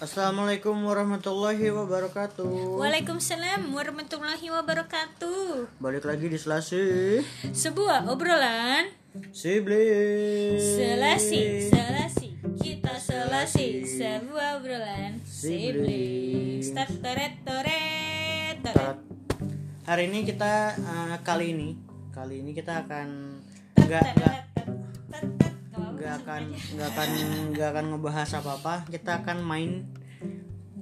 Assalamualaikum warahmatullahi wabarakatuh. Waalaikumsalam warahmatullahi wabarakatuh. Balik lagi di Selasi Sebuah obrolan Sibling. selasi, selasi. Kita selasi sebuah obrolan sibling. Start toret toret toret. Tarat. Hari ini kita eh, kali ini kali ini kita akan nggak Tet, nggak tet, tet, tet. Nggak apa-apa nggak akan sebenarnya. nggak akan nggak akan ngebahas apa apa. Kita akan main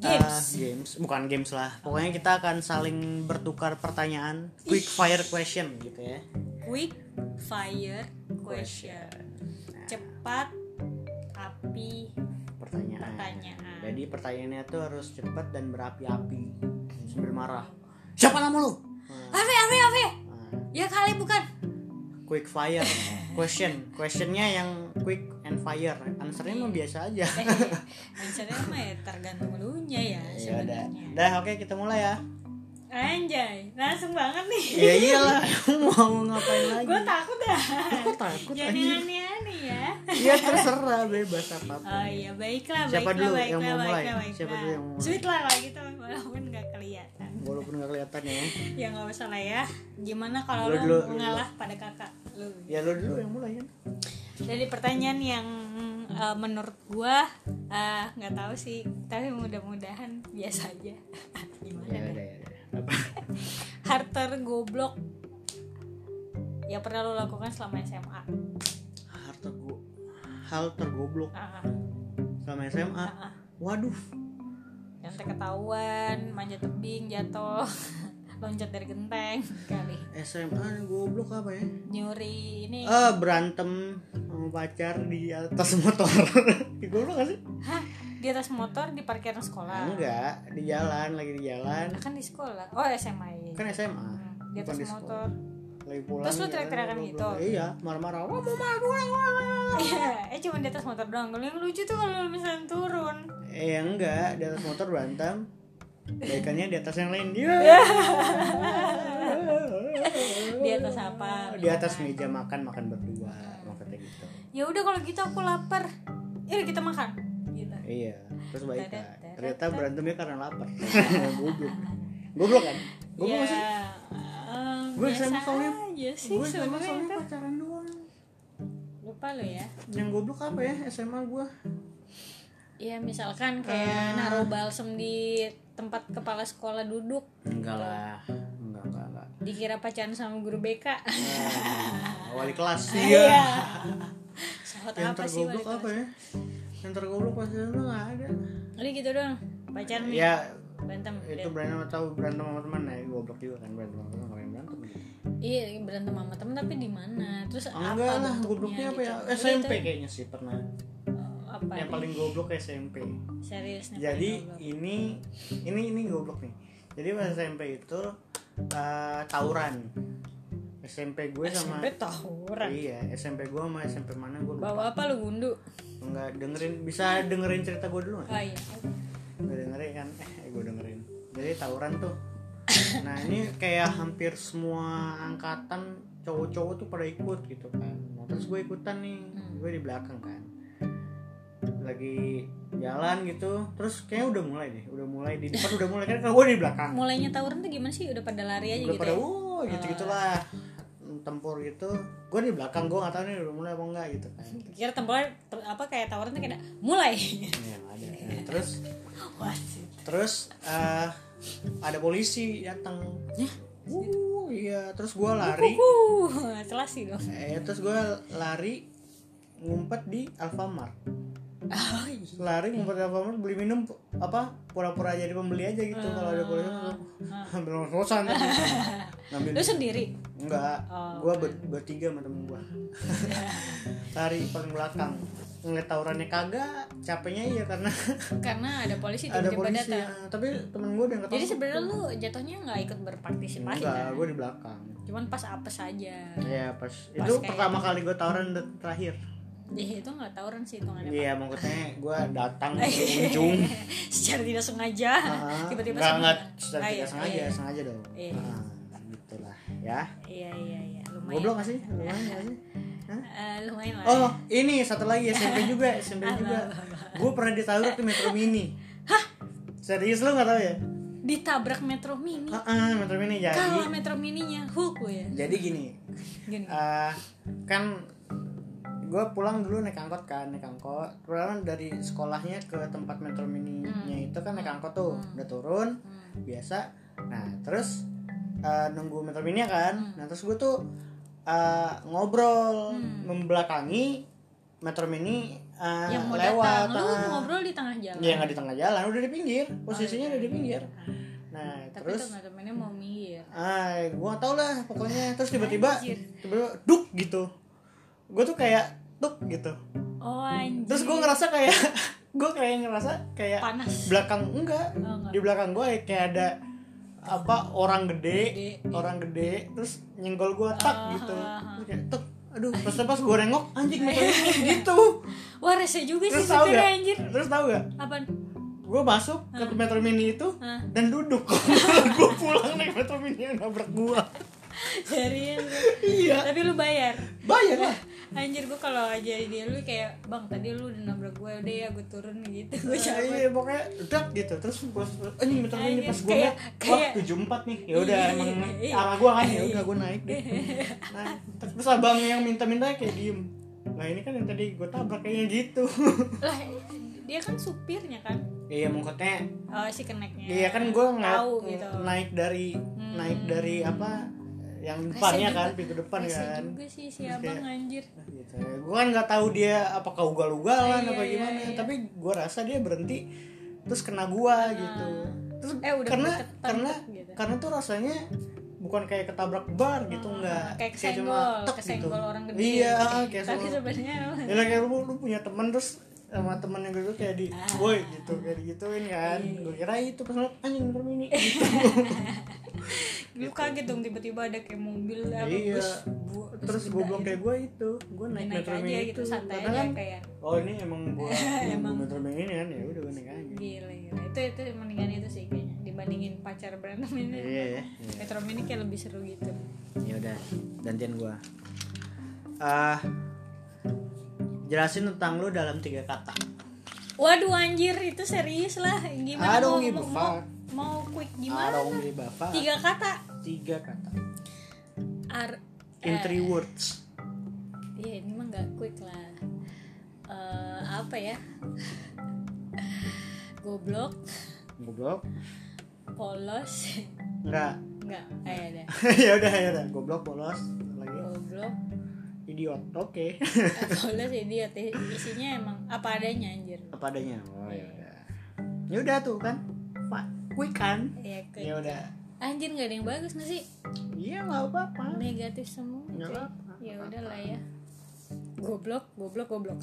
eh, Games. games bukan games lah. Pokoknya kita akan saling bertukar pertanyaan, quick fire question gitu ya. Quick fire question. Nah. Cepat api pertanyaan. Pertanyaan. Jadi pertanyaannya tuh harus cepat dan berapi-api sambil marah. Siapa nama lu? Nah, Api api api. nah, Ya kali bukan. quick fire question. Questionnya yang quick and fire. Answernya mah biasa aja. Eh, Bicaranya mah ya tergantung lunya ya ya udah. sebenarnya. Dah oke kita mulai ya. Anjay, langsung banget nih. ya iyalah mau ngapain lagi? Gue takut dah. Aku takut Jangan yang anjir. aneh-aneh ya. Iya terserah bebas apa Oh iya, baiklah, Siapa baiklah, dulu baiklah, yang mau baiklah, mulai? baiklah. Siapa dulu yang mau mulai? Sweet lah kalau gitu, walaupun nggak kelihatan. Walaupun gak kelihatan ya. Ya nggak usah lah ya. Gimana kalau Lu lu, dulu, lu ngalah pada kakak lu? Ya lu dulu yang mulai ya. Dari pertanyaan yang eh, menurut gua eh, nggak tahu sih, tapi mudah-mudahan biasa aja. Gimana? Ya dah? udah ya udah. Apa? Harter goblok yang pernah lo lakukan selama SMA. Hal tergo hal tergoblok Ah, sama SMA. ah, ah. Waduh, Yang ketahuan, manjat tebing, jatuh, loncat dari genteng kali. SMA goblok apa ya? Nyuri ini. Eh berantem sama pacar di atas motor. di goblok gak sih? Hah? Di atas motor di parkiran sekolah. Enggak, di jalan lagi di jalan. Kan di sekolah. Oh, SMA. Kan SMA. Hmm, di bukan atas di motor. Lagi pulang. Terus lu jalan, teriak-teriakan goblok. gitu? Iya, marah-marah. Wah, mau marah. pulang, wah, wah, wah. Iya, eh cuma di atas motor doang. Kalau yang lucu tuh kalau misalnya turun. Eh enggak, di atas motor berantem. Baikannya di atas yang lain. Iya. Di atas apa? Di atas meja makan makan berdua, maksudnya gitu. Ya udah kalau gitu aku lapar. Ya udah kita makan. Gitu. Iya, terus baikan. Tedet, Ternyata tedet. berantemnya karena lapar. goblok. Goblok kan? Goblok gak sih? Ya, eh, Gue biasa sama soalnya- aja sih Gue sama sebenarnya soalnya itu. pacaran doang. Lupa lo ya. Yang goblok apa ya SMA gue? Iya misalkan Ah. kayak naruh balsem di tempat kepala sekolah duduk Enggak lah. Enggak, enggak, enggak. dikira pacaran sama guru BK. wali kelas. Iya. Sahot Yang apa sih tergoblok apa ya? Yang tergoblok pas itu enggak ada. Udah gitu doang. Pacaran nih. Ya, Berantem. itu berantem atau berantem sama teman ya goblok juga kan berantem sama teman ngapain berantem gitu. Iya, berantem sama temen tapi di mana? Terus Ah, enggak apa lah bentuknya gobloknya apa ya gitu. SMP Itu, kayaknya sih pernah eh, apa? yang nih? paling goblok SMP serius nih. jadi paling goblok. ini ini ini goblok nih jadi pas SMP itu eh, tawuran SMP gue sama Eh, SMP tawuran. Iya, SMP gue sama SMP mana gue lupa. Bawa apa lu gundu? Enggak dengerin, bisa dengerin cerita gue dulu nggak? Oh iya. Enggak dengerin kan? Eh, gue dengerin. Jadi tawuran tuh. Nah ini kayak hampir semua angkatan cowok-cowok tuh pada ikut gitu kan. Nah, terus gue ikutan nih, Hmm. gue di belakang kan. Lagi jalan gitu, terus kayaknya udah mulai deh, udah mulai di depan udah mulai kan, gue di belakang. Mulainya tawuran tuh gimana sih? Udah pada lari aja udah gitu. pada ya? wow gitu gitulah tempur gitu gue di belakang gue nggak tahu nih udah mulai apa enggak gitu kan Kira temporan ter- apa kayak tawuran tuh kayak mulai. yang ada Nah, terus Wasit. terus eh, ada polisi datang Ya? Wuh, iya terus gue lari Wuh, selasi dong. eh, terus gue lari ngumpet di Alfamart Oh iya. lari ngumpet di Alfamart beli minum apa pura-pura jadi pembeli aja gitu kalau ada polisi Ah, tuh ambil ngos-ngosan ngambil Lu sendiri? Enggak, Oh, gua ber- bertiga sama temen gua Lari paling belakang Ngeliat tawurannya kagak, capeknya iya karena Karena ada polisi ada tiba-tiba polisi datang. ya. Tapi temen gua udah Jadi ketangkep sebenarnya lu jatuhnya nggak ikut berpartisipasi Enggak, kan? gua di belakang Cuman pas apa saja. Iya pas, Pas Itu kayak- gitu. pertama kali gua tawuran dan terakhir Ya itu nggak tawuran sih hitungannya. Iya maksudnya gua datang Iya. ke ujung Secara tidak sengaja. Ah, Tiba-tiba Enggak, sama- enggak, secara Ah, tidak iya, sengaja, iya. sengaja dong Iya. Ah, Gitu lah ya Iya iya iya. Lumayan. Goblok gak sih? Lumayan gak sih? Eh, lumayan lah. Oh, ini satu lagi SMP juga, SMP juga. Gue pernah ditawuran di Metro Mini. serius lu nggak tahu ya ditabrak metro mini Heeh, Metro Mini jadi kalah metro mininya Hulk ya jadi gini gini Eh, kan gue pulang dulu naik angkot kan naik angkot pulang dari sekolahnya ke tempat metro mininya itu kan naik angkot tuh Hmm. udah turun Hmm. biasa nah terus eh, nunggu metro mininya kan nah terus gue tuh eh, ngobrol Hmm. membelakangi metro mini eh, yang mau lewat datang lu ah. ngobrol kan? Oh, di tengah jalan Ah, ya nggak di tengah jalan udah di pinggir posisinya udah di pinggir nah iya, tapi terus tuh metro mini mau minggir ah gue tau lah pokoknya terus tiba-tiba Anjir. tiba-tiba duk gitu gue tuh kayak duk gitu oh anjir terus gue ngerasa kayak gue kayak ngerasa kayak Panas. belakang enggak Oh, enggak. di belakang gue kayak ada apa orang Gede, gede, iya. orang gede terus nyenggol gue tak Ah, gitu ah, ah. Terus kayak tuk aduh pas pas gue nengok anjing motor ini gitu wah rese juga sih terus tahu supirnya gak anjir Ah. terus tahu gak apaan Ah, gue masuk ke metro mini itu Hah? dan duduk gue pulang naik metro mini yang nabrak gue serius Iya. tapi lu bayar bayar lah Anjir gue kalau jadi dia lu kayak bang tadi lu udah nabrak gue udah ya gue turun gitu gue Iya, cabut iya pokoknya udah gitu terus gue anjing metro mini Anjir, pas gue kayak- naik wah kayak- tujuh empat nih ya udah Iya, emang iya. sama gue kan ya udah gue naik deh naik terus abang yang minta-minta kayak diem nah ini kan yang tadi gue tabrak kayaknya gitu lah dia kan supirnya kan iya mongkotnya oh, si keneknya iya kan gue tahu gitu naik dari naik dari apa yang Rese depannya juga. kan pintu depan Rese kan juga sih si Terus abang kayak- anjir gitu. gue kan nggak tahu dia apakah ugal-ugalan Iya, apa iya, gimana iya. Ah. tapi gue rasa dia berhenti terus kena gua gitu terus Eh, udah karena ketek- karena gitu. karena tuh rasanya bukan kayak ketabrak bar gitu nggak Ah, kayak kesenggol tek gitu. kesenggol orang gede iya kayak tapi sama- sebenarnya ya lah, kayak lu, lu punya teman terus sama temen yang dulu kayak di Ah. boy gitu kayak digituin kan Iya. gue kira itu pas ngeliat, anjing bener ini gitu. lu kaget dong tiba-tiba ada kayak mobil apa iya bus Bu- terus goblok kayak gue itu gue naik naik metro aja mini gitu itu santai karena aja kan kayak oh ini emang gua yang gua metro mini ini kan ya udah gua naik aja gila gila itu itu mendingan itu sih kayaknya dibandingin pacar berantem ini iya ya Metro Mini kayak lebih seru gitu. ya udah gantian gua ah jelasin tentang lu dalam tiga kata Waduh anjir itu serius lah gimana I don't mau, give a mau, mau, fuck. mau quick gimana? arong di bapak Tiga Eh. kata. tiga kata Ar in three words ya ini mah nggak quick lah. Eh, apa ya? Goblok, goblok polos, enggak nggak, eh deh. ya udah ya udah goblok polos lagi Goblok, idiot oke eh, polos idiot. Isinya emang apa adanya anjir. apa adanya oh ya udah ya udah tuh kan pak quick kan Ya, quick. ya udah Anjir nggak ada yang bagus nggak sih? iya nggak apa-apa Negatif semua. cuy. Nggak apa-apa. Ya udahlah ya. Goblok, goblok, goblok.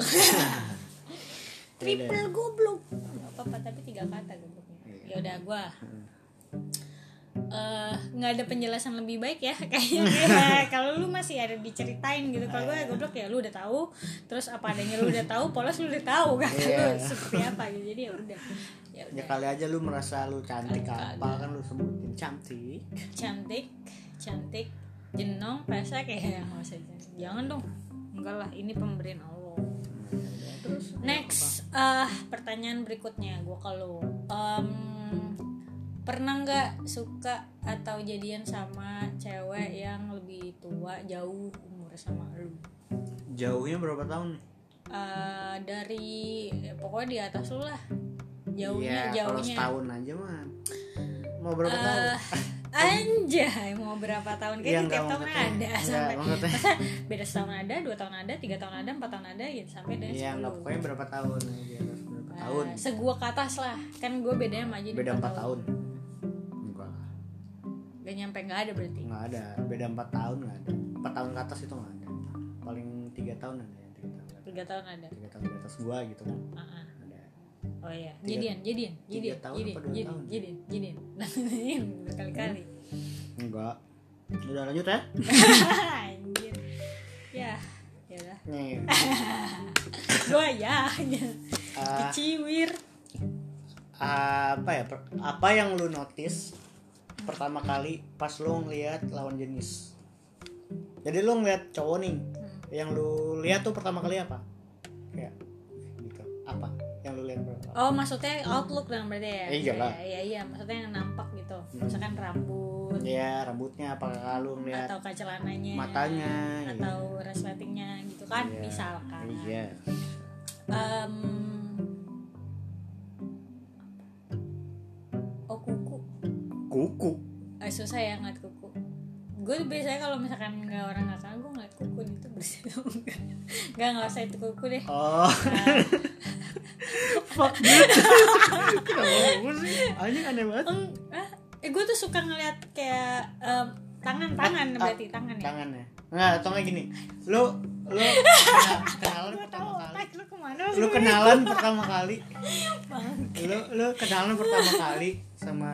Triple goblok. Gak apa-apa tapi tiga kata gobloknya. Ya udah gua eh nggak ada penjelasan lebih baik ya kayaknya Ya, kalau lu masih ada diceritain gitu kalau gue goblok ya lu udah tahu terus apa adanya lu udah tahu polos lu udah tahu kan Iya. lu seperti apa gitu jadi ya udah ya Ya udah kali aja lu merasa lu cantik apa kan lu sebutin cantik. cantik cantik jenong pesek ya nggak usah jangan. jangan dong enggak lah ini pemberian Allah Terus next eh pertanyaan berikutnya gue kalau em, pernah nggak suka atau jadian sama cewek yang lebih tua jauh umur sama lu jauhnya berapa tahun nih? Eh, dari eh, pokoknya di atas lu lah jauhnya Iya, kalau jauhnya setahun aja mah. Mau berapa tahun? Eh, anjay mau berapa tahun Iya, kayaknya tiap nggak mau tahun ketemu. ada Nggak sampai mau ketemu. masa beda setahun ada dua tahun ada tiga tahun ada empat tahun ada gitu sampai dari Iya, enggak sepuluh pokoknya berapa tahun aja harus berapa Nah, tahun. segua ke atas lah kan gue bedanya sama aja di Beda 4 tahun. Enggak lah. gak nyampe nggak ada berarti Enggak ada. Beda 4 tahun enggak ada. 4 tahun ke atas itu enggak ada. Paling 3 tahun ada ya, 3 tahun. tiga tahun ada 3 tahun ke atas gua gitu kan. Ah, ah. Ada. oh iya Tiga- jadian jadian tiga jadian tahun jadian apa dua jadian tahun? jadian jadian nanti berkali-kali Enggak. Udah lanjut ya. anjir ya ya lah Nih. eh, gue ya ah, keciwir apa ya per- apa yang lu notice pertama kali pas lu ngelihat lawan jenis jadi lu ngelihat cowok nih Hmm. yang lu lihat tuh pertama kali apa ya gitu apa yang lu lihat pertama Oh maksudnya outlook dong berarti ya? Eh, iyalah. Iya iya iya maksudnya yang nampak gitu. Hmm. Misalkan rambut ya rambutnya apakah lu ngeliat atau kacelananya matanya atau resletingnya gitu kan Iya. misalkan. iya Ah. Em, oh kuku kuku Eh, susah ya ngeliat kuku. Gue biasanya kalau misalkan nggak orang nggak kenal gue ngeliat kuku itu bersih atau enggak. Nggak nggak usah itu kuku deh. Nah, oh fuck dude kenapa gue sih anjing aneh banget Eng, ah, eh, gue tuh suka ngeliat kayak em, tangan tangan Ah, berarti tangan ya tangannya nggak atau nggak gini lu lu kena- kenalan gue tahu pertama kali otak Oh, lu kemana lu sih? kenalan pertama kali Bang. lu lu kenalan pertama kali sama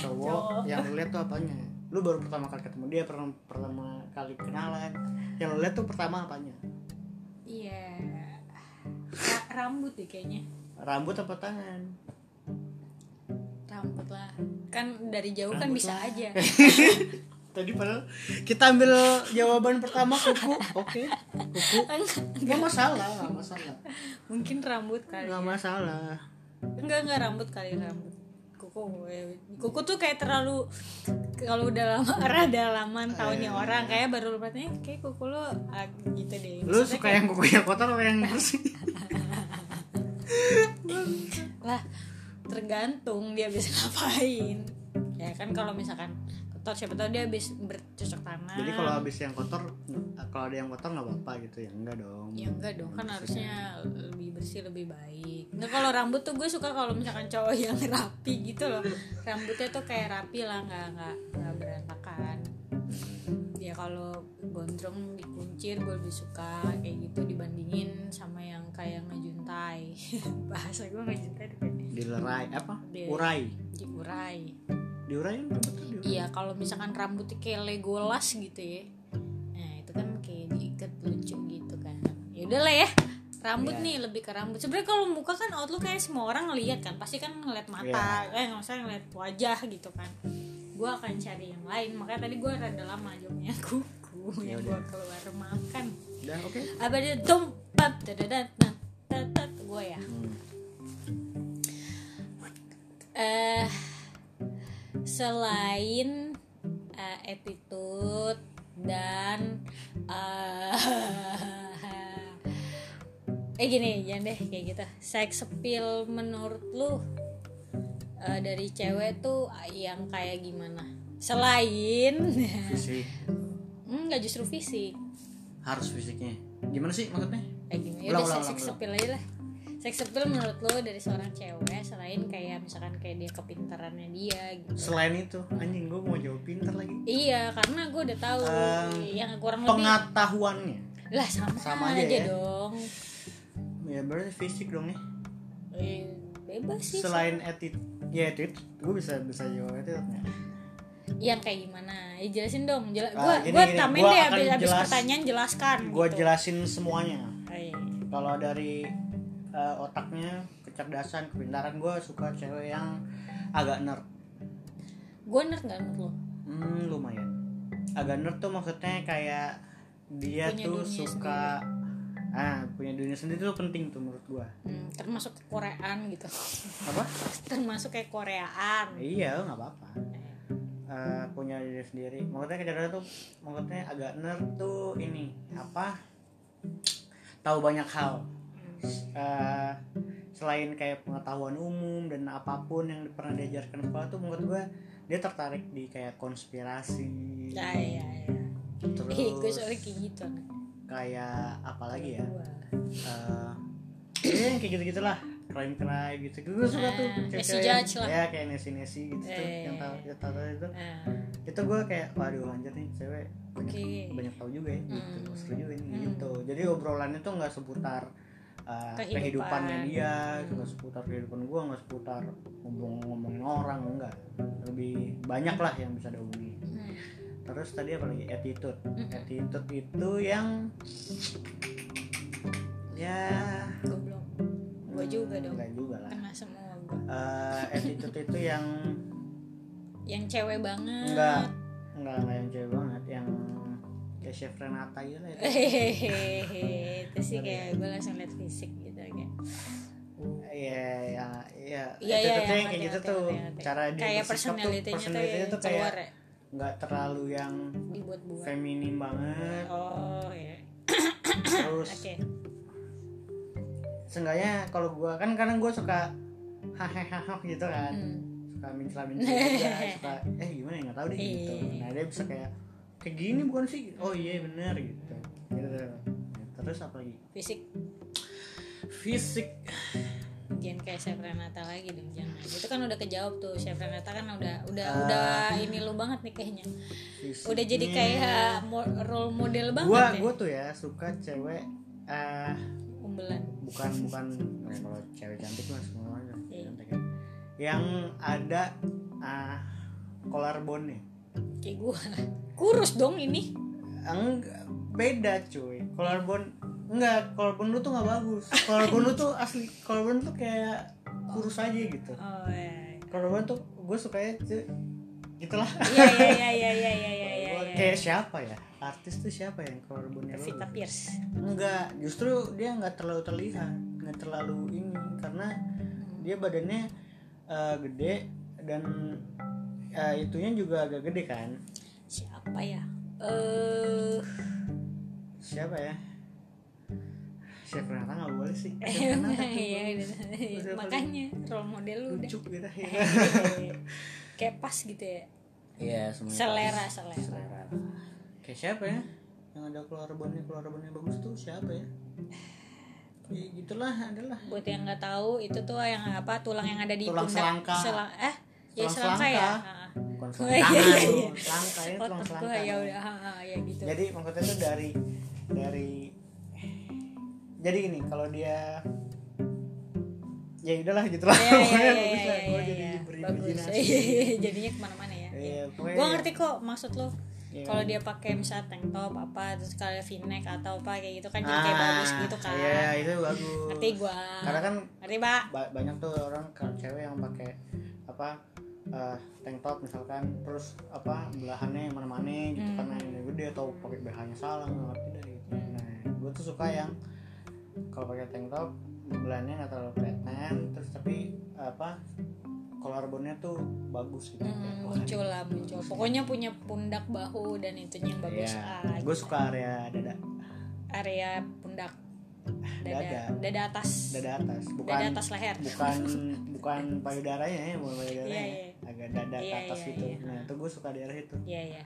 cowok Cowok. yang lu lihat tuh apanya lu baru pertama kali ketemu dia pertama pertama kali kenalan yang lu lihat tuh pertama apanya iya Ra- rambut deh kayaknya rambut apa tangan rambut lah kan dari jauh kan Rambut bisa lah. aja tadi padahal kita ambil jawaban pertama kuku oke kuku nggak masalah nggak masalah Kan mungkin rambut kali nggak masalah enggak enggak rambut kali rambut kuku ya. kuku tuh kayak terlalu kalau udah lama rada laman tahunnya Eh. orang kayak baru lu perhatiin, "Eh, kayak kuku lu ah, gitu deh lu Maksudnya suka kayak- yang kukunya kotor atau yang bersih lah tergantung dia habis ngapain ya kan kalau misalkan kotor siapa tahu dia habis bercocok tanam Jadi kalau habis yang kotor, eh, kalau ada yang kotor nggak apa-apa gitu ya enggak dong. ya enggak dong kan harusnya lebih bersih lebih baik nah kalau rambut tuh gue suka kalau misalkan cowok yang rapi gitu loh rambutnya tuh kayak rapi lah nggak nggak nggak berantakan ya kalau gondrong dikuncir gue lebih suka kayak gitu dibandingin sama yang kayak ngejuntai bahasa gue ngejuntai tuh kayak Dilerai apa? Di- Urai. diurai Diurai kan rambut tuh diurai. Iya kalau misalkan rambutnya kayak Legolas gitu ya Nah itu kan kayak diikat lucu gitu kan Yaudah lah ya Rambut Iya. nih lebih ke rambut Sebenarnya kalau muka kan outlook kayak semua orang ngelihat kan Pasti kan ngeliat mata Eh nggak usah ngeliat wajah gitu kan Gue akan cari yang lain Makanya tadi gue rada lama jawabnya kuku Yang Yaudah. gue keluar makan Udah oke. Apa dia tumpat dadadat nah, tatat Gue ya Hmm. eh selain eh, attitude dan eh eh gini jangan deh kayak gitu sex appeal menurut lu eh, dari cewek tuh yang kayak gimana selain hmm, Fisik. nggak justru fisik Harus fisiknya. Gimana sih maksudnya? kayak gimana Ulang, Yaudah, sex ulang, ulang, ulang. appeal aja lah sex appeal menurut lu dari seorang cewek selain kayak misalkan kayak dia kepintarannya dia gitu Selain itu, anjing gue mau jawab pinter lagi. Iya, karena gue udah tahu Ehm, yang kurang lebih Pengetahuannya. lah sama, sama aja, aja ya. dong. Ya berarti fisik dong ya. Eh, bebas sih. Selain attitude, ya attitude, gue bisa bisa jawab attitude nggak? Gitu. Yang kayak gimana? Ya jelasin dong. Jela gua Ah, gini, gua gini, tamen gua deh akan habis habis jelas- pertanyaan jelaskan Gue gitu. Iya. jelasin semuanya. Ay, kalau dari eh, otaknya kecerdasan kepintaran gue suka cewek yang agak nerd Gua nerd gak nerd lo? hmm, lumayan agak nerd tuh maksudnya kayak dia Punya tuh dunia suka ah punya dunia sendiri tuh penting tuh menurut gue Hmm, termasuk ke Koreaan gitu. apa termasuk kayak Koreaan. iya nggak apa-apa Eh, punya diri sendiri maksudnya kecerdasan tuh maksudnya agak nerd tuh ini apa tahu banyak hal Hmm, eh, selain kayak pengetahuan umum dan apapun yang pernah diajarkan sekolah tuh menurut gue dia tertarik di kayak konspirasi Ya ya ya. terus Ih, gue soalnya kayak gitu. anak. kayak apa lagi ya Gua. Eh, ya yang kayak gitu gitulah crime crime gitu gue suka tuh Ah, cewek-cewek Nessie yang- Judge lah. ya kayak nesi nesi gitu tuh Eh. yang tahu yang tahu itu Nah, itu gue kayak waduh anjir nih cewek Oke. banyak banyak tahu juga ya gitu Hmm. seru juga ini Hmm. gitu jadi obrolannya tuh nggak seputar uh, Kehidupan. kehidupannya dia Hmm. nggak seputar kehidupan gua nggak seputar ngomong-ngomongin orang enggak lebih banyak lah yang bisa dihubungi Hmm. terus tadi apa lagi attitude Hmm. attitude itu yang ya Goblok. Gua hmm, juga dong. nggak juga lah Kena semua gua. Eh, attitude itu yang Yang cewek banget. enggak enggak enggak yang cewek banget yang kayak chef Renata gitu lah itu. ya. Hehehe, itu sih kayak gue langsung liat fisik gitu kayak Iya, iya, iya. Iya, itu iya, tuh iya, kayak ngerti, kayak gitu ngerti, tuh. ngerti, ngerti. Cara dia kayak bersikap tuh, personality-nya tuh, personality-nya tuh kayak keluar ya, nggak terlalu yang dibuat-buat. feminim banget. Oh, iya. Terus Oke. seenggaknya kalau gua kan kadang gua suka hahaha gitu kan. Hmm. Suka mincela-mincela juga, suka eh gimana ya nggak tahu deh Iya. gitu. Nah, dia bisa kayak kayak gini bukan sih? Oh iya bener gitu. Gitu. Terus apa lagi? Fisik Fisik. jangan kayak Chef Renata lagi dong jangan itu kan udah kejawab tuh Chef Renata kan udah udah Ah. udah ini lu banget nih kayaknya Fisiknya. udah jadi kayak mo- role model banget gua deh. gua tuh ya suka cewek eh umbelan bukan bukan ya, kalau cewek cantik lah semuanya Iya. cantik ya. yang ada ah collar bone nya kayak gua kurus dong ini enggak beda cuy collar bone enggak collar bone lu tuh nggak bagus collar bone lu tuh asli collar bone tuh kayak kurus aja gitu oh iya collar bone tuh gue sukanya tuh gitulah iya iya iya iya iya iya iya Collar bone. iya kayak siapa ya artis tuh siapa yang collar bone nya Pevita Pierce enggak justru dia nggak terlalu terlihat nggak terlalu ini karena dia badannya eh, gede dan eh, itunya juga agak gede kan siapa ya eh siapa ya siapa Renata nggak boleh sih Siapa Renata tuh iya bagus. iya. makanya role model lu udah lucu gitu ya. kayak pas gitu ya Iya, semuanya selera bagus. selera kayak siapa ya yang ada keluar bonnya keluar bonnya bagus tuh siapa ya Iya, ya gitulah adalah buat yang nggak tahu itu tuh yang apa tulang yang ada di Tulang pundak selangka. Selang- eh ya Tulang selangka, ya selangka. Ah, bukan iya, selangkangan iya, tuh. iya. selangka ya ah. tulang otot selangka gua ya udah ah, ah, ya gitu jadi maksudnya tuh dari dari jadi gini kalau dia ya udahlah gitu lah ya, ya, ya, ya, ya, pokoknya bagus lah gue ya, jadi ya. bagus berimajinasi jadinya kemana-mana ya Iya, pokoknya gue ya. ngerti kok maksud lo Iya. kalau dia pakai misalnya tank top apa terus kalau v-neck atau apa kayak gitu kan jadi Ah, kayak bagus gitu kan iya itu bagus ngerti gue karena kan ngerti pak ba- banyak tuh orang kalau cewek yang pakai apa eh, tank top misalkan terus apa belahannya yang mana-mana gitu Hmm. karena ini gede atau pakai BH nya salah nggak ngerti deh gitu nah gue tuh suka yang kalau pakai tank top belahannya nggak terlalu kelihatan terus tapi apa collarbone-nya tuh bagus gitu Hmm, muncul lah muncul pokoknya punya pundak bahu dan itunya yang bagus Ah, gue iya. suka area dada area pundak dada Dada. dada, atas dada atas bukan Dada atas leher bukan bukan payudaranya ya bukan payudaranya Iya, ya. agak dada ke Iya, atas iya, gitu iya. nah itu gue suka di area itu iya iya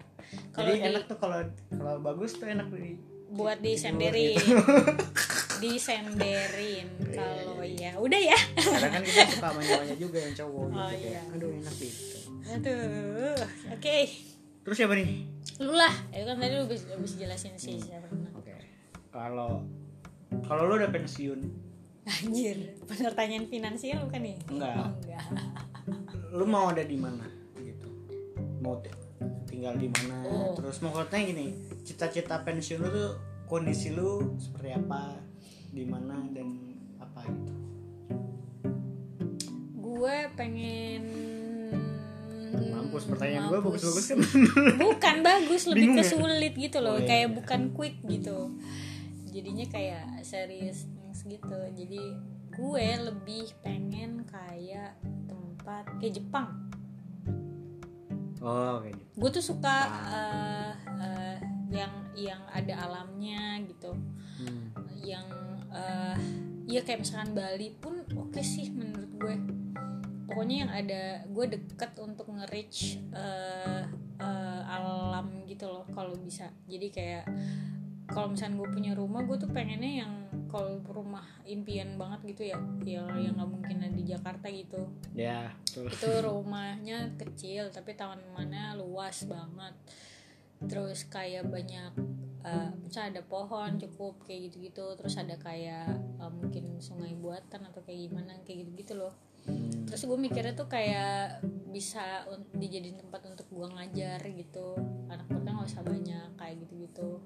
kalau jadi di- enak tuh kalau kalau bagus tuh enak di buat disenderin gitu. Iya, disenderin kalau ya udah ya karena kan kita suka manja-manja juga yang cowok gitu Oh, kayak, iya. aduh enak gitu aduh oke terus siapa nih lu lah itu kan tadi lu habis, habis jelasin sih Hmm. siapa pernah oke kalau kalau lu udah pensiun anjir pertanyaan finansial bukan nih Enggak. Oh, enggak lu mau ada di mana gitu mau ti- tinggal di mana Oh. terus maksudnya gini cita-cita pensiun lu tuh kondisi lu seperti apa di mana dan apa gitu gue pengen mampus pertanyaan gue Hmm, mampus. bagus-bagus kan bukan bagus lebih Bingung ke ya? sulit gitu loh Oh, iya, kayak iya. bukan quick gitu jadinya kayak serius things gitu jadi gue lebih pengen kayak tempat kayak Jepang oh oke gue tuh suka eh, eh, yang yang ada alamnya gitu hmm. yang eh ya kayak misalkan Bali pun oke sih menurut gue pokoknya yang ada gue deket untuk nge-reach eh, eh, alam gitu loh kalau bisa jadi kayak kalau misalkan gue punya rumah gue tuh pengennya yang kalau rumah impian banget gitu ya ya yang nggak mungkin ada di Jakarta gitu ya betul itu rumahnya kecil tapi tamannya luas banget terus kayak banyak eh, misalnya ada pohon cukup kayak gitu-gitu terus ada kayak eh, mungkin sungai buatan atau kayak gimana kayak gitu-gitu loh Hmm. terus gue mikirnya tuh kayak bisa un- dijadiin tempat untuk gue ngajar gitu anak muda nggak usah banyak kayak gitu-gitu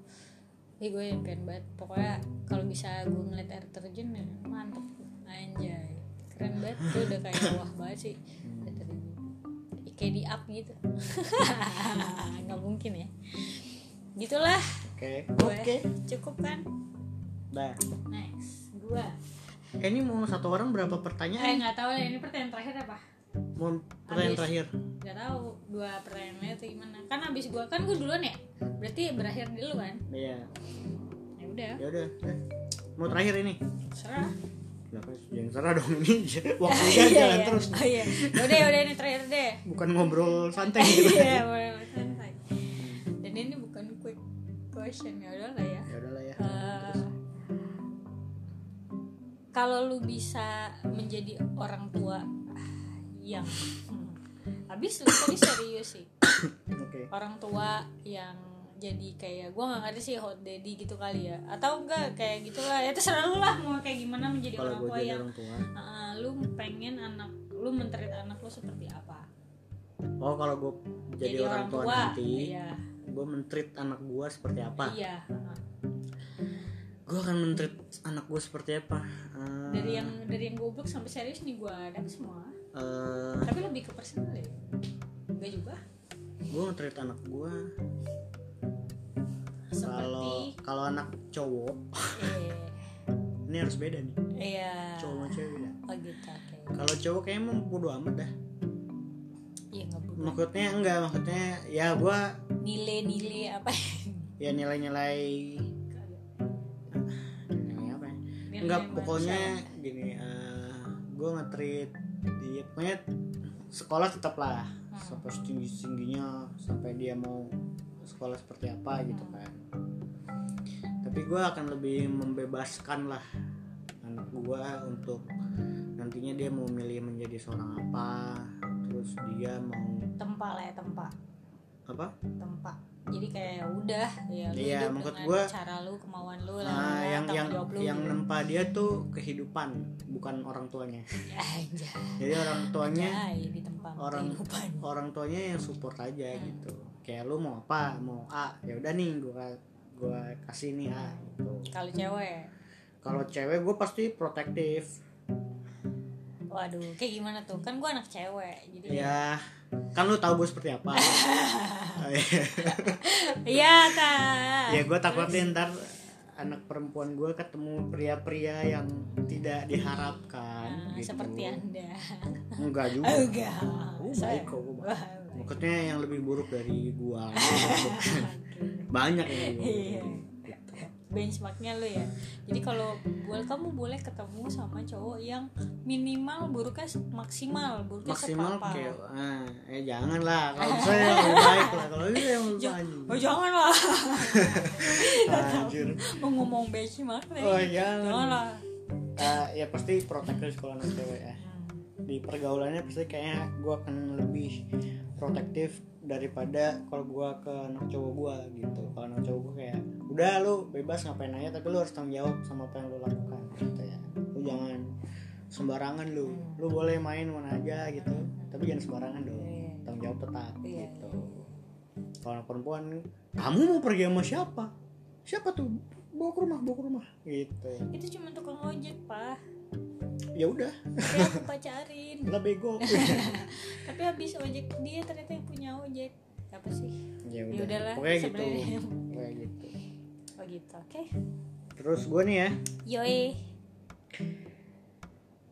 ini gue yang pengen banget pokoknya kalau bisa gue ngeliat air terjun ya mantep anjay keren banget gue udah kayak wah banget sih air terjun Ya, kayak di up gitu nggak mungkin ya gitulah Oke. gue cukup kan Dah. nice gue eh, ini mau satu orang eh berapa pertanyaan nggak tahu deh, ini pertanyaan terakhir apa mau pertanyaan Habis. terakhir nggak tahu dua pertanyaannya atau gimana kan abis gua kan gua duluan ya berarti berakhir dulu kan iya ya udah ya udah eh, mau terakhir ini serah Kenapa? jangan kan serah dong ini waktunya iya, jalan terus oh, iya. udah udah ini terakhir deh bukan ngobrol santai gitu iya boleh boleh, santai dan ini bukan quick question ya udah lah ya ya udahlah ya Eh, kalau lu bisa menjadi orang tua yang Hmm. habis lu tadi serius sih Iya. oke orang tua yang jadi kayak gue nggak ngerti sih hot daddy gitu kali ya atau enggak kayak gitulah ya terserah lu lah mau kayak gimana menjadi kalau orang gue tua jadi yang orang tua uh, lu pengen anak lu menterit anak lu seperti apa oh kalau gue jadi, orang tua, nanti iya gue mentreat anak gue seperti apa iya uh, gue akan mentreat anak gue seperti apa Eh, dari yang dari yang goblok sampai serius nih gue dapet semua eh, tapi lebih ke personal ya enggak juga gue nge-treat anak gue kalau seperti kalau anak cowok eh ini harus beda nih iya cowok sama cewek ya. beda oh gitu oke kalau cowok kayaknya emang bodo amat dah iya nggak boleh maksudnya enggak maksudnya ya gue nilai-nilai apa ya nilai-nilai nilai apa ya enggak Nilai pokoknya manusia. gini gue nge-treat dia pokoknya sekolah tetap lah Hmm. sampai setinggi tingginya sampai dia mau sekolah seperti apa gitu kan tapi gue akan lebih membebaskan lah anak gue untuk nantinya dia mau milih menjadi seorang apa terus dia mau tempa lah ya tempa apa tempa jadi kayak udah ya lu Iya, hidup maksud dengan gua- cara lu kemauan lu lah Nah, yang tanggung yang jawab lu yang gitu. nempa dia tuh kehidupan bukan orang tuanya Ya, anjay jadi orang tuanya anjay di tempat orang- kehidupan orang tuanya yang support aja Hmm. gitu kayak lu mau apa mau A ya udah nih gua gua kasih nih A gitu kalau cewek kalau cewek gue pasti protektif waduh kayak gimana tuh kan gua anak cewek jadi ya kan lu tahu gue seperti apa iya kan ya gue takutnya ntar anak perempuan gue ketemu pria-pria yang tidak diharapkan Nah, gitu. seperti anda Oh, enggak juga enggak Gua Saya- baik kok, gua baik. Wah, baik. maksudnya yang lebih buruk dari gua Oke. banyak yang lebih buruk Iya. benchmarknya lu ya jadi kalau boleh kamu boleh ketemu sama cowok yang minimal buruknya se- maksimal buruknya maksimal separpal. kayak ah, eh jangan lah kalau bisa ya lebih baik lah kalau itu yang lebih Ja- anjing Oh jangan lah anjir Mau ngomong benchmark nih oh Jangan jangan lah Ah, ya pasti protektif kalau anak cewek ya Hmm. di pergaulannya pasti kayaknya gua akan lebih protektif daripada kalau gua ke anak cowok gua gitu kalau anak cowok gua kayak udah lu bebas ngapain aja tapi lu harus tanggung jawab sama apa yang lu lakukan gitu ya lu jangan sembarangan lu lu boleh main mana aja gitu tapi jangan sembarangan dong Iya. tanggung jawab tetap Iya, gitu kalau anak perempuan kamu mau pergi sama siapa siapa tuh bawa ke rumah bawa ke rumah gitu Itu cuma tukang ojek pak ya udah Tapi aku pacarin lah bego Tapi habis ojek dia ternyata yang punya ojek Apa sih? ya Ya udah udahlah pokoknya gitu sebenarnya. kayak gitu Oh gitu oke terus gue nih ya Yoi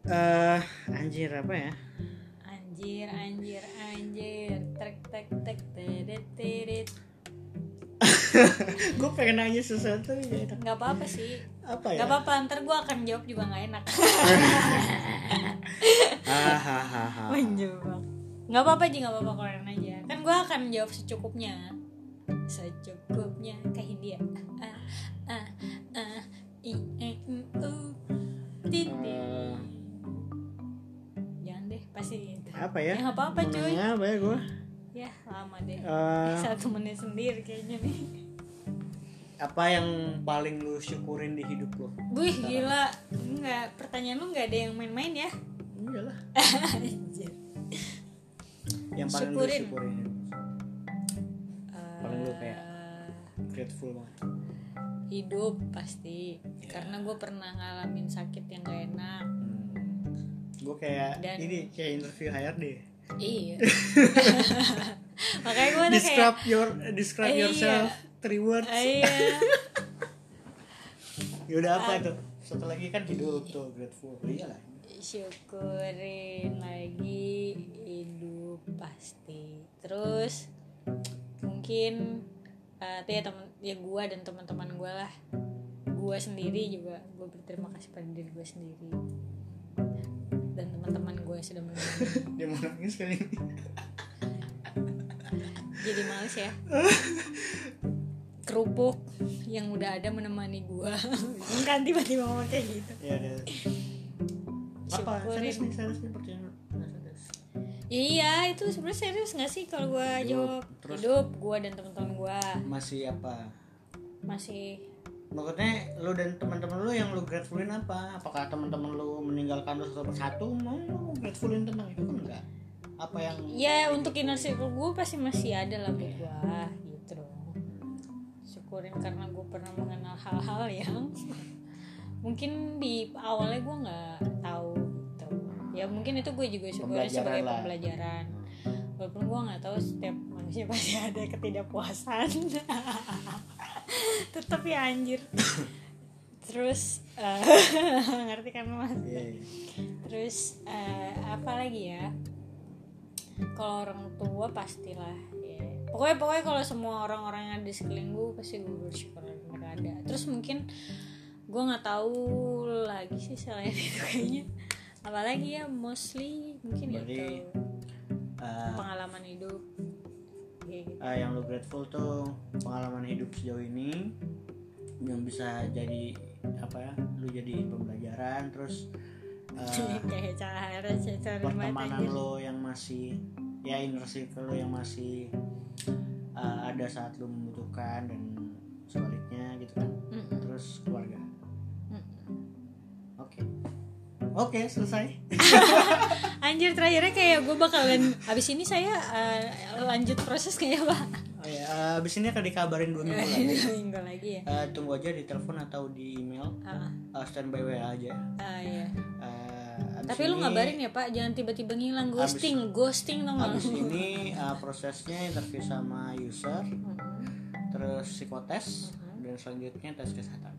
eh anjir apa ya Anjir anjir anjir Tek tek tek tedet tedet gue pengen nanya sesuatu tapi nggak enak. Gak apa-apa sih apa ya Gak apa-apa ntar gue akan jawab juga gak enak hahaha Menjebak Gak apa-apa sih gak apa-apa kalian aja Kan gue akan jawab secukupnya Secukupnya ke Hindia Ah, ah, ah, i, e, i, u. Titik. Eh. Jangan deh pasti gitu apa ya Ya, nggak apa-apa, Mau cuy. nanya apa ya gue Ya lama deh Eh, Satu menit sendiri kayaknya nih apa yang paling lu syukurin di hidup lu Wih gila Enggak pertanyaan lu gak ada yang main-main ya iyalah Anjir yang paling lu Syukurin. syukurin Paling lu kayak- Eh, grateful banget hidup pasti karena gue pernah ngalamin sakit yang gak enak gue Hmm. kayak Dan- ini kayak interview HRD iya makanya gue tuh kayak describe your describe Iya. yourself three words iya yaudah Ya apa itu satu lagi kan hidup tuh grateful Oh iya iyalah syukurin lagi hidup pasti terus mungkin eh tuh ya temen ya gue dan teman-teman gue lah gue sendiri juga gue berterima kasih pada diri gue sendiri dan teman-teman gue sudah menemani dia mau nangis kali ini jadi males ya kerupuk yang udah ada menemani gue kan tiba-tiba ngomong kayak gitu ya ada apa Syukurin. serius nih serius nih pertanyaan Nah, serius. Ya iya itu sebenarnya serius nggak sih kalau gue Hidup. jawab Terus? hidup gue dan teman-teman gue masih apa masih maksudnya lu dan teman-teman lu yang lu gratefulin apa apakah teman-teman lu meninggalkan lu satu persatu mau lu gratefulin tentang itu kan enggak apa yang ya untuk inner circle gue pasti masih ada lah buat gue gitu loh syukurin karena gue pernah mengenal hal-hal yang mungkin di awalnya gue nggak tahu gitu ya mungkin itu gue juga syukurin Pembelajaran sebagai lah. pembelajaran walaupun gue nggak tahu setiap manusia pasti ada ketidakpuasan tetap ya anjir terus eh, ngerti kan mas Iya, iya. terus eh, apa lagi ya kalau orang tua pastilah ya. pokoknya pokoknya kalau semua orang-orang yang ada di sekeliling gue pasti gue bersyukur mereka ada terus mungkin gue nggak tahu lagi sih selain itu kayaknya apalagi ya mostly mungkin Berarti, itu Eh, pengalaman hidup Kayak gitu. eh, yang lu grateful tuh pengalaman hidup sejauh ini yang bisa jadi apa ya lu jadi pembelajaran terus eh, kayak cara cara banget pertemanan anjir. lo yang masih ya inner circle lo yang masih eh, ada saat lo membutuhkan dan sebaliknya gitu kan Mm-mm, terus keluarga mm-mm. oke oke selesai anjir terakhirnya kayak gue bakalan abis ini saya eh, lanjut proses kayak apa oh ya eh, abis ini akan dikabarin dua minggu lagi Dua minggu lagi ya Eh, tunggu aja di telepon atau di email Ah, Eh, standby wa aja ah, iya. Eh, abis tapi lu ini- ngabarin ya pak jangan tiba-tiba ngilang Abis- ghosting ghosting dong Habis ini uh, prosesnya interview sama user, Hmm. terus psikotes, Mm-hmm. dan selanjutnya tes kesehatan.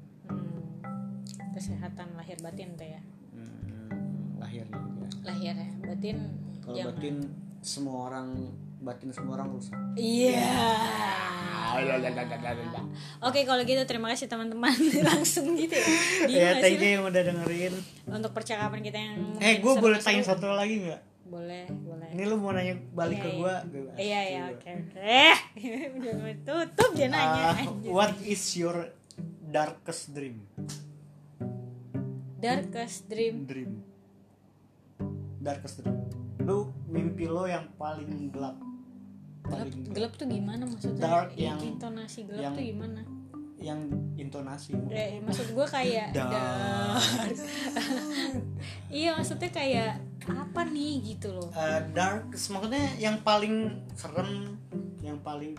kesehatan lahir batin teh ya Hmm, lahirnya juga. lahir ya batin Kalau jangan. batin semua orang batin semua orang rusak. iya ya. Ah, oke kalau gitu terima kasih teman-teman iya. langsung gitu ya Bingung Ya, gak thank sih Nah, you yang udah dengerin. lu? untuk percakapan kita yang Eh, mungkin gue boleh seru-seru. tanya satu lagi nggak? boleh boleh Ini lu mau nanya balik Iya, ke iya. gue? bebas. iya iya Iya. oke oke udah mau tutup dia nanya Ah, anjir. what is your darkest dream? darkest dream Dream. Darkest dream. Lu mimpi lo yang paling gelap. gelap, Paling gelap tuh gimana maksudnya Dark I- yang- intonasi gelap yang- tuh gimana yang intonasi eh, maksud gue kayak Dark. dark. iya maksudnya kayak apa nih gitu loh Eh, dark maksudnya yang paling serem yang paling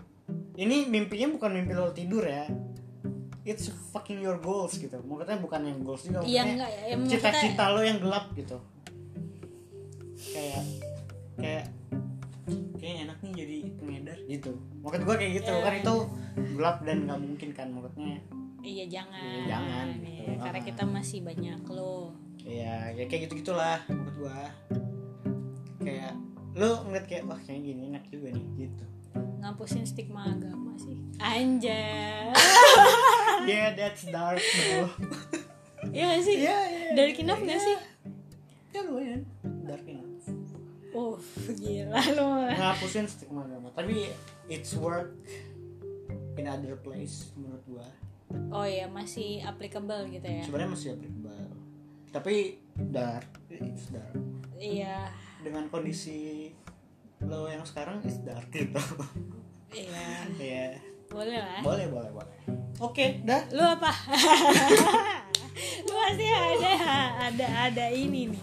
ini mimpinya bukan mimpi lo tidur ya it's fucking your goals gitu maksudnya bukan yang goals Iya, juga maksudnya enggak, ya, maksudnya- Eh, cita-cita lo yang gelap gitu kayak kayak kayaknya enak nih jadi pengedar gitu maksud gua kayak gitu Iya. kan itu gelap dan nggak mungkin kan maksudnya iya jangan Iya, jangan, gitu. Iya, karena Ah. kita masih banyak loh Iya, ya kayak gitu gitulah menurut gua. Kayak lu ngeliat kayak wah kayak gini enak juga nih gitu. ngapusin stigma agama sih anjay Yeah, that's dark bro. iya gak sih Iya, iya. dari kinaf gak sih Ya lumayan. Dark enough. uh gila lu Ngapusin stigma agama, tapi it's work in other place menurut gua. oh ya masih applicable gitu ya Sebenarnya masih applicable. Tapi dark, it's dark. iya Dengan kondisi lo yang sekarang it's dark gitu. iya Iya. boleh lah Boleh, boleh, boleh. Oke, dah. lu apa lu pasti ada ada ada ini nih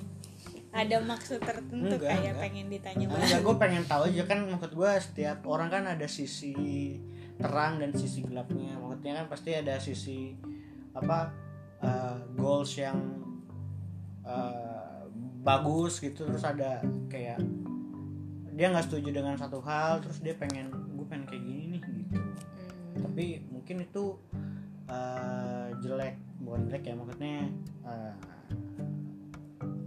ada maksud tertentu Enggak, kayak enggak. pengen ditanya banget Enggak, gue Nah, pengen tahu aja kan maksud gue setiap orang kan ada sisi terang dan sisi gelapnya. Maksudnya kan pasti ada sisi apa uh, goals yang uh, bagus gitu terus ada kayak dia nggak setuju dengan satu hal terus dia pengen gue pengen kayak gini nih gitu Hmm, tapi mungkin itu uh, eh, jelek bukan jelek ya maksudnya eh,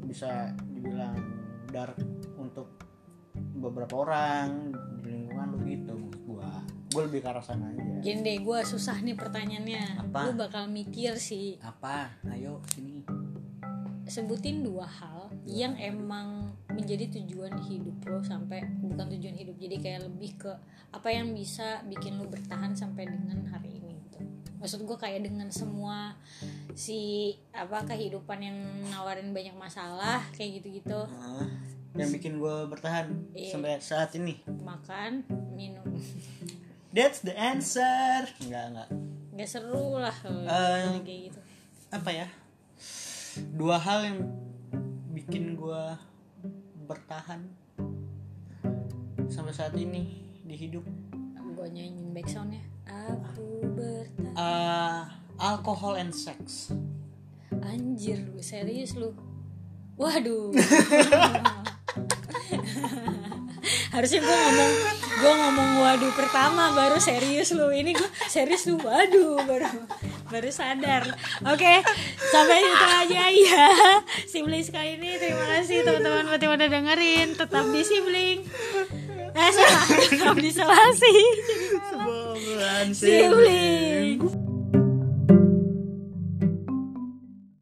bisa dibilang dark untuk beberapa orang di lingkungan lu gitu maksud gua gua lebih ke arah sana aja Gini deh, gue susah nih pertanyaannya. Apa? Gue bakal mikir sih. apa ayo sini Sebutin dua hal yang emang menjadi tujuan hidup lo sampai bukan tujuan hidup. Jadi kayak lebih ke apa yang bisa bikin lo bertahan sampai dengan hari ini gitu. Maksud gue kayak dengan semua si apa kehidupan yang nawarin banyak masalah kayak gitu-gitu. Hah? yang bikin gua bertahan Iya. sampai saat ini Makan, minum. that's the answer enggak enggak Gak seru lah kalau Eh. kayak gitu. apa ya dua hal yang bikin gua bertahan sampai saat ini di hidup Gue nyanyiin back soundnya. Aku bertahan. Eh, alkohol and sex Anjir lu serius lu Waduh Harusnya gue ngomong Gue ngomong waduh pertama Baru serius lu Ini gue serius lu waduh Baru baru sadar Oke sampai situ aja ya Siblings kali ini Terima kasih teman-teman buat yang udah dengerin Tetap di sibling Eh salah, tetap di selasi Sebulan Sibling